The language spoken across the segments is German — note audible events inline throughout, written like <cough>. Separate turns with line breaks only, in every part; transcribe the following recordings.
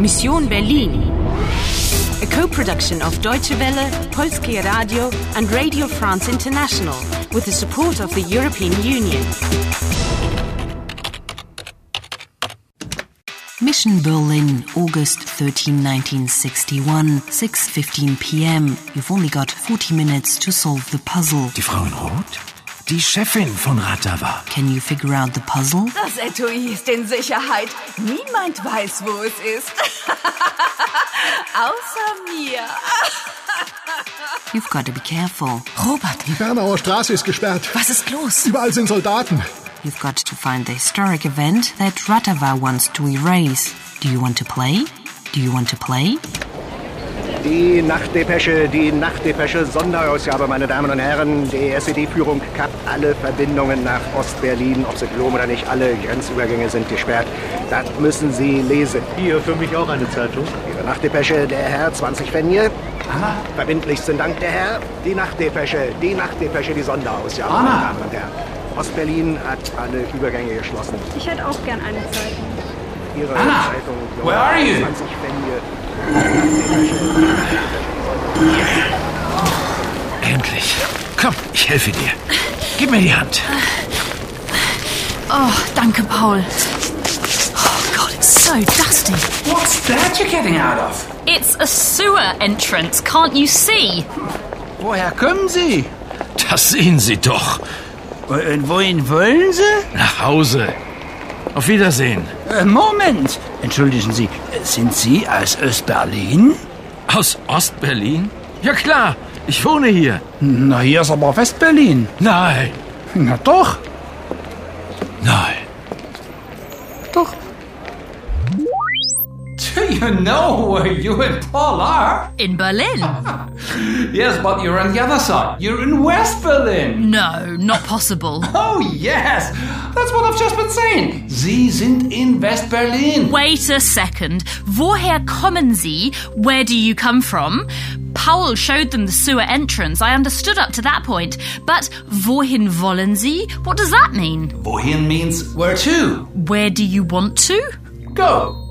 Mission Berlin. A co-production of Deutsche Welle, Polskie Radio and Radio France International with the support of the European Union.
Mission Berlin, August 13, 1961, 6.15 p.m. You've only got 40 minutes to solve the puzzle.
Die Frau in Rot? Die Chefin von Ratava.
Can you figure out the puzzle?
Das Etui ist in Sicherheit. Niemand weiß, wo es ist. <laughs> Außer mir.
You've got to be careful.
Robert,
Die Bernauer Straße ist gesperrt.
was ist los?
Überall sind Soldaten.
You've got to find the historic event that Ratava wants to erase. Do you want to play? Do you want to play?
Die Nachtdepesche, die Nachtdepesche, Sonderausgabe, meine Damen und Herren. Die SED-Führung kappt alle Verbindungen nach Ostberlin, ob Sie glauben oder nicht, alle Grenzübergänge sind gesperrt. Das müssen Sie lesen.
Hier, für mich auch eine Zeitung.
Ihre Nachtdepesche, der Herr, 20 Fenje. Verbindlichsten Dank, der Herr. Die Nachtdepesche, die Nachtdepesche, die Sonderausgabe, meine Damen und Herren. Ostberlin hat alle Übergänge geschlossen.
Ich hätte auch gern eine Zeitung.
Ihre Zeitung,
where are you?
20 Fenje.
Endlich. Komm, ich helfe dir. Gib mir die Hand.
Oh, danke, Paul.
Oh Gott, it's so dusty.
What's that you're getting out of?
It's a sewer entrance, can't you see?
Woher kommen Sie?
Das sehen Sie doch.
Äh, Und wohin wollen Sie?
Nach Hause. Auf Wiedersehen.
Äh, Moment. Entschuldigen Sie, äh, sind Sie aus Ostberlin?
Aus Ostberlin? Ja klar, ich wohne hier.
Na, hier ist aber Westberlin.
Nein,
Na doch.
nein.
Doch.
Do you know where you and Paul are?
In Berlin?
<laughs> Yes, but you're on the other side. You're in West Berlin.
No, not possible.
<laughs> Oh, yes. That's what I've just been saying. Sie sind in West Berlin.
Wait a second. Woher kommen Sie? Where do you come from? Powell showed them the sewer entrance. I understood up to that point. But wohin wollen Sie? What does that mean?
Wohin means where to.
Where do you want to?
Go.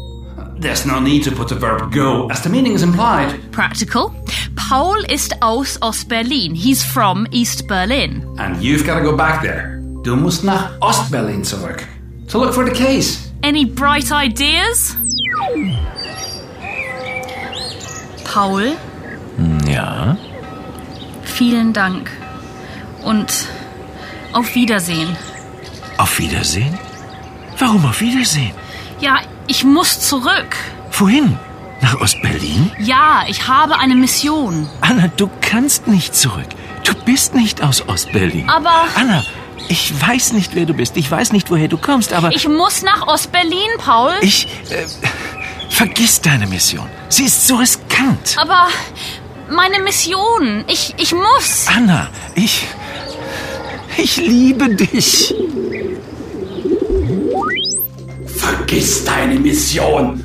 There's no need to put the verb go, as the meaning is implied.
Practical. Paul ist aus Ostberlin. He's from East Berlin.
And you've got to go back there. Du musst nach Ostberlin zurück. To look for the case.
Any bright ideas? Paul,
Ja,
vielen Dank. Und auf Wiedersehen.
auf Wiedersehen? Warum auf Wiedersehen?
Ja, ich muss zurück.
Wohin? Nach Ostberlin?
Ja, ich habe eine Mission.
Anna, du kannst nicht zurück. Du bist nicht aus Ostberlin.
Aber-
Anna, ich weiß nicht, wer du bist. Ich weiß nicht, woher du kommst, aber
Ich muss nach Ostberlin, Paul.
ich äh, vergiss deine Mission. Sie ist so riskant.
Aber meine Mission. Ich, ich muss.
Anna, ich. Ich liebe dich.
Vergiss deine Mission.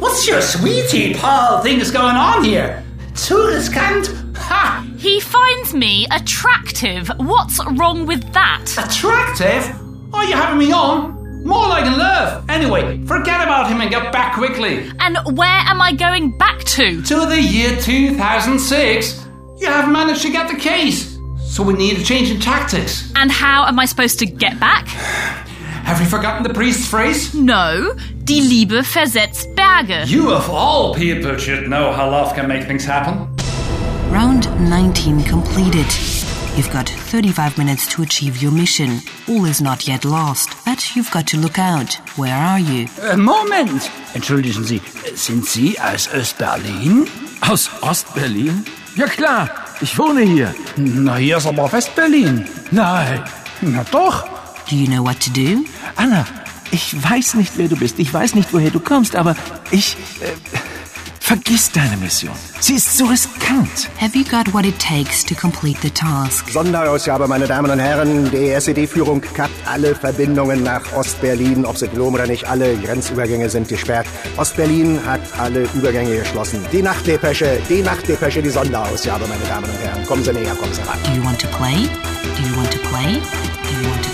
What's your sweetie Paul thing is going on here? Zu riskant? Ha!
He finds me attractive. What's wrong with that?
Attractive? Are you having me on? More like in love. Anyway, forget about him and get back quickly.
And where am I going back to?
To the year 2006, you have managed to get the case. So we need a change in tactics.
And how am I supposed to get back?
Have you forgotten the priest's phrase?
No, die Liebe versetzt Berge.
You of all people should know how love can make things happen.
Round 19 completed. You've got 35 minutes to achieve your mission. All is not yet lost, but you've got to look out. Where are you?
Äh, Moment. Entschuldigen Sie, äh, sind Sie aus Ostberlin?
Aus Ostberlin? Ja klar, ich wohne hier.
Na, hier ist aber Westberlin.
Nein,
Na doch.
Do you know what to do?
Anna, ich weiß nicht, wer du bist. Ich weiß nicht, woher du kommst, aber ich. Äh, vergiss deine Mission. Sie ist so riskant.
Have you got what it takes to complete the task?
Sonderausgabe, meine Damen und Herren. Die SED-Führung kappt alle Verbindungen nach Ostberlin, ob sie glauben oder nicht. Alle Grenzübergänge sind gesperrt. Ostberlin hat alle Übergänge geschlossen. Die Nachtdepesche, die Nachtdepesche, die Sonderausgabe, meine Damen und Herren. Kommen Sie näher, kommen Sie ran.
Do you want to play? Do you want to play? Do you want to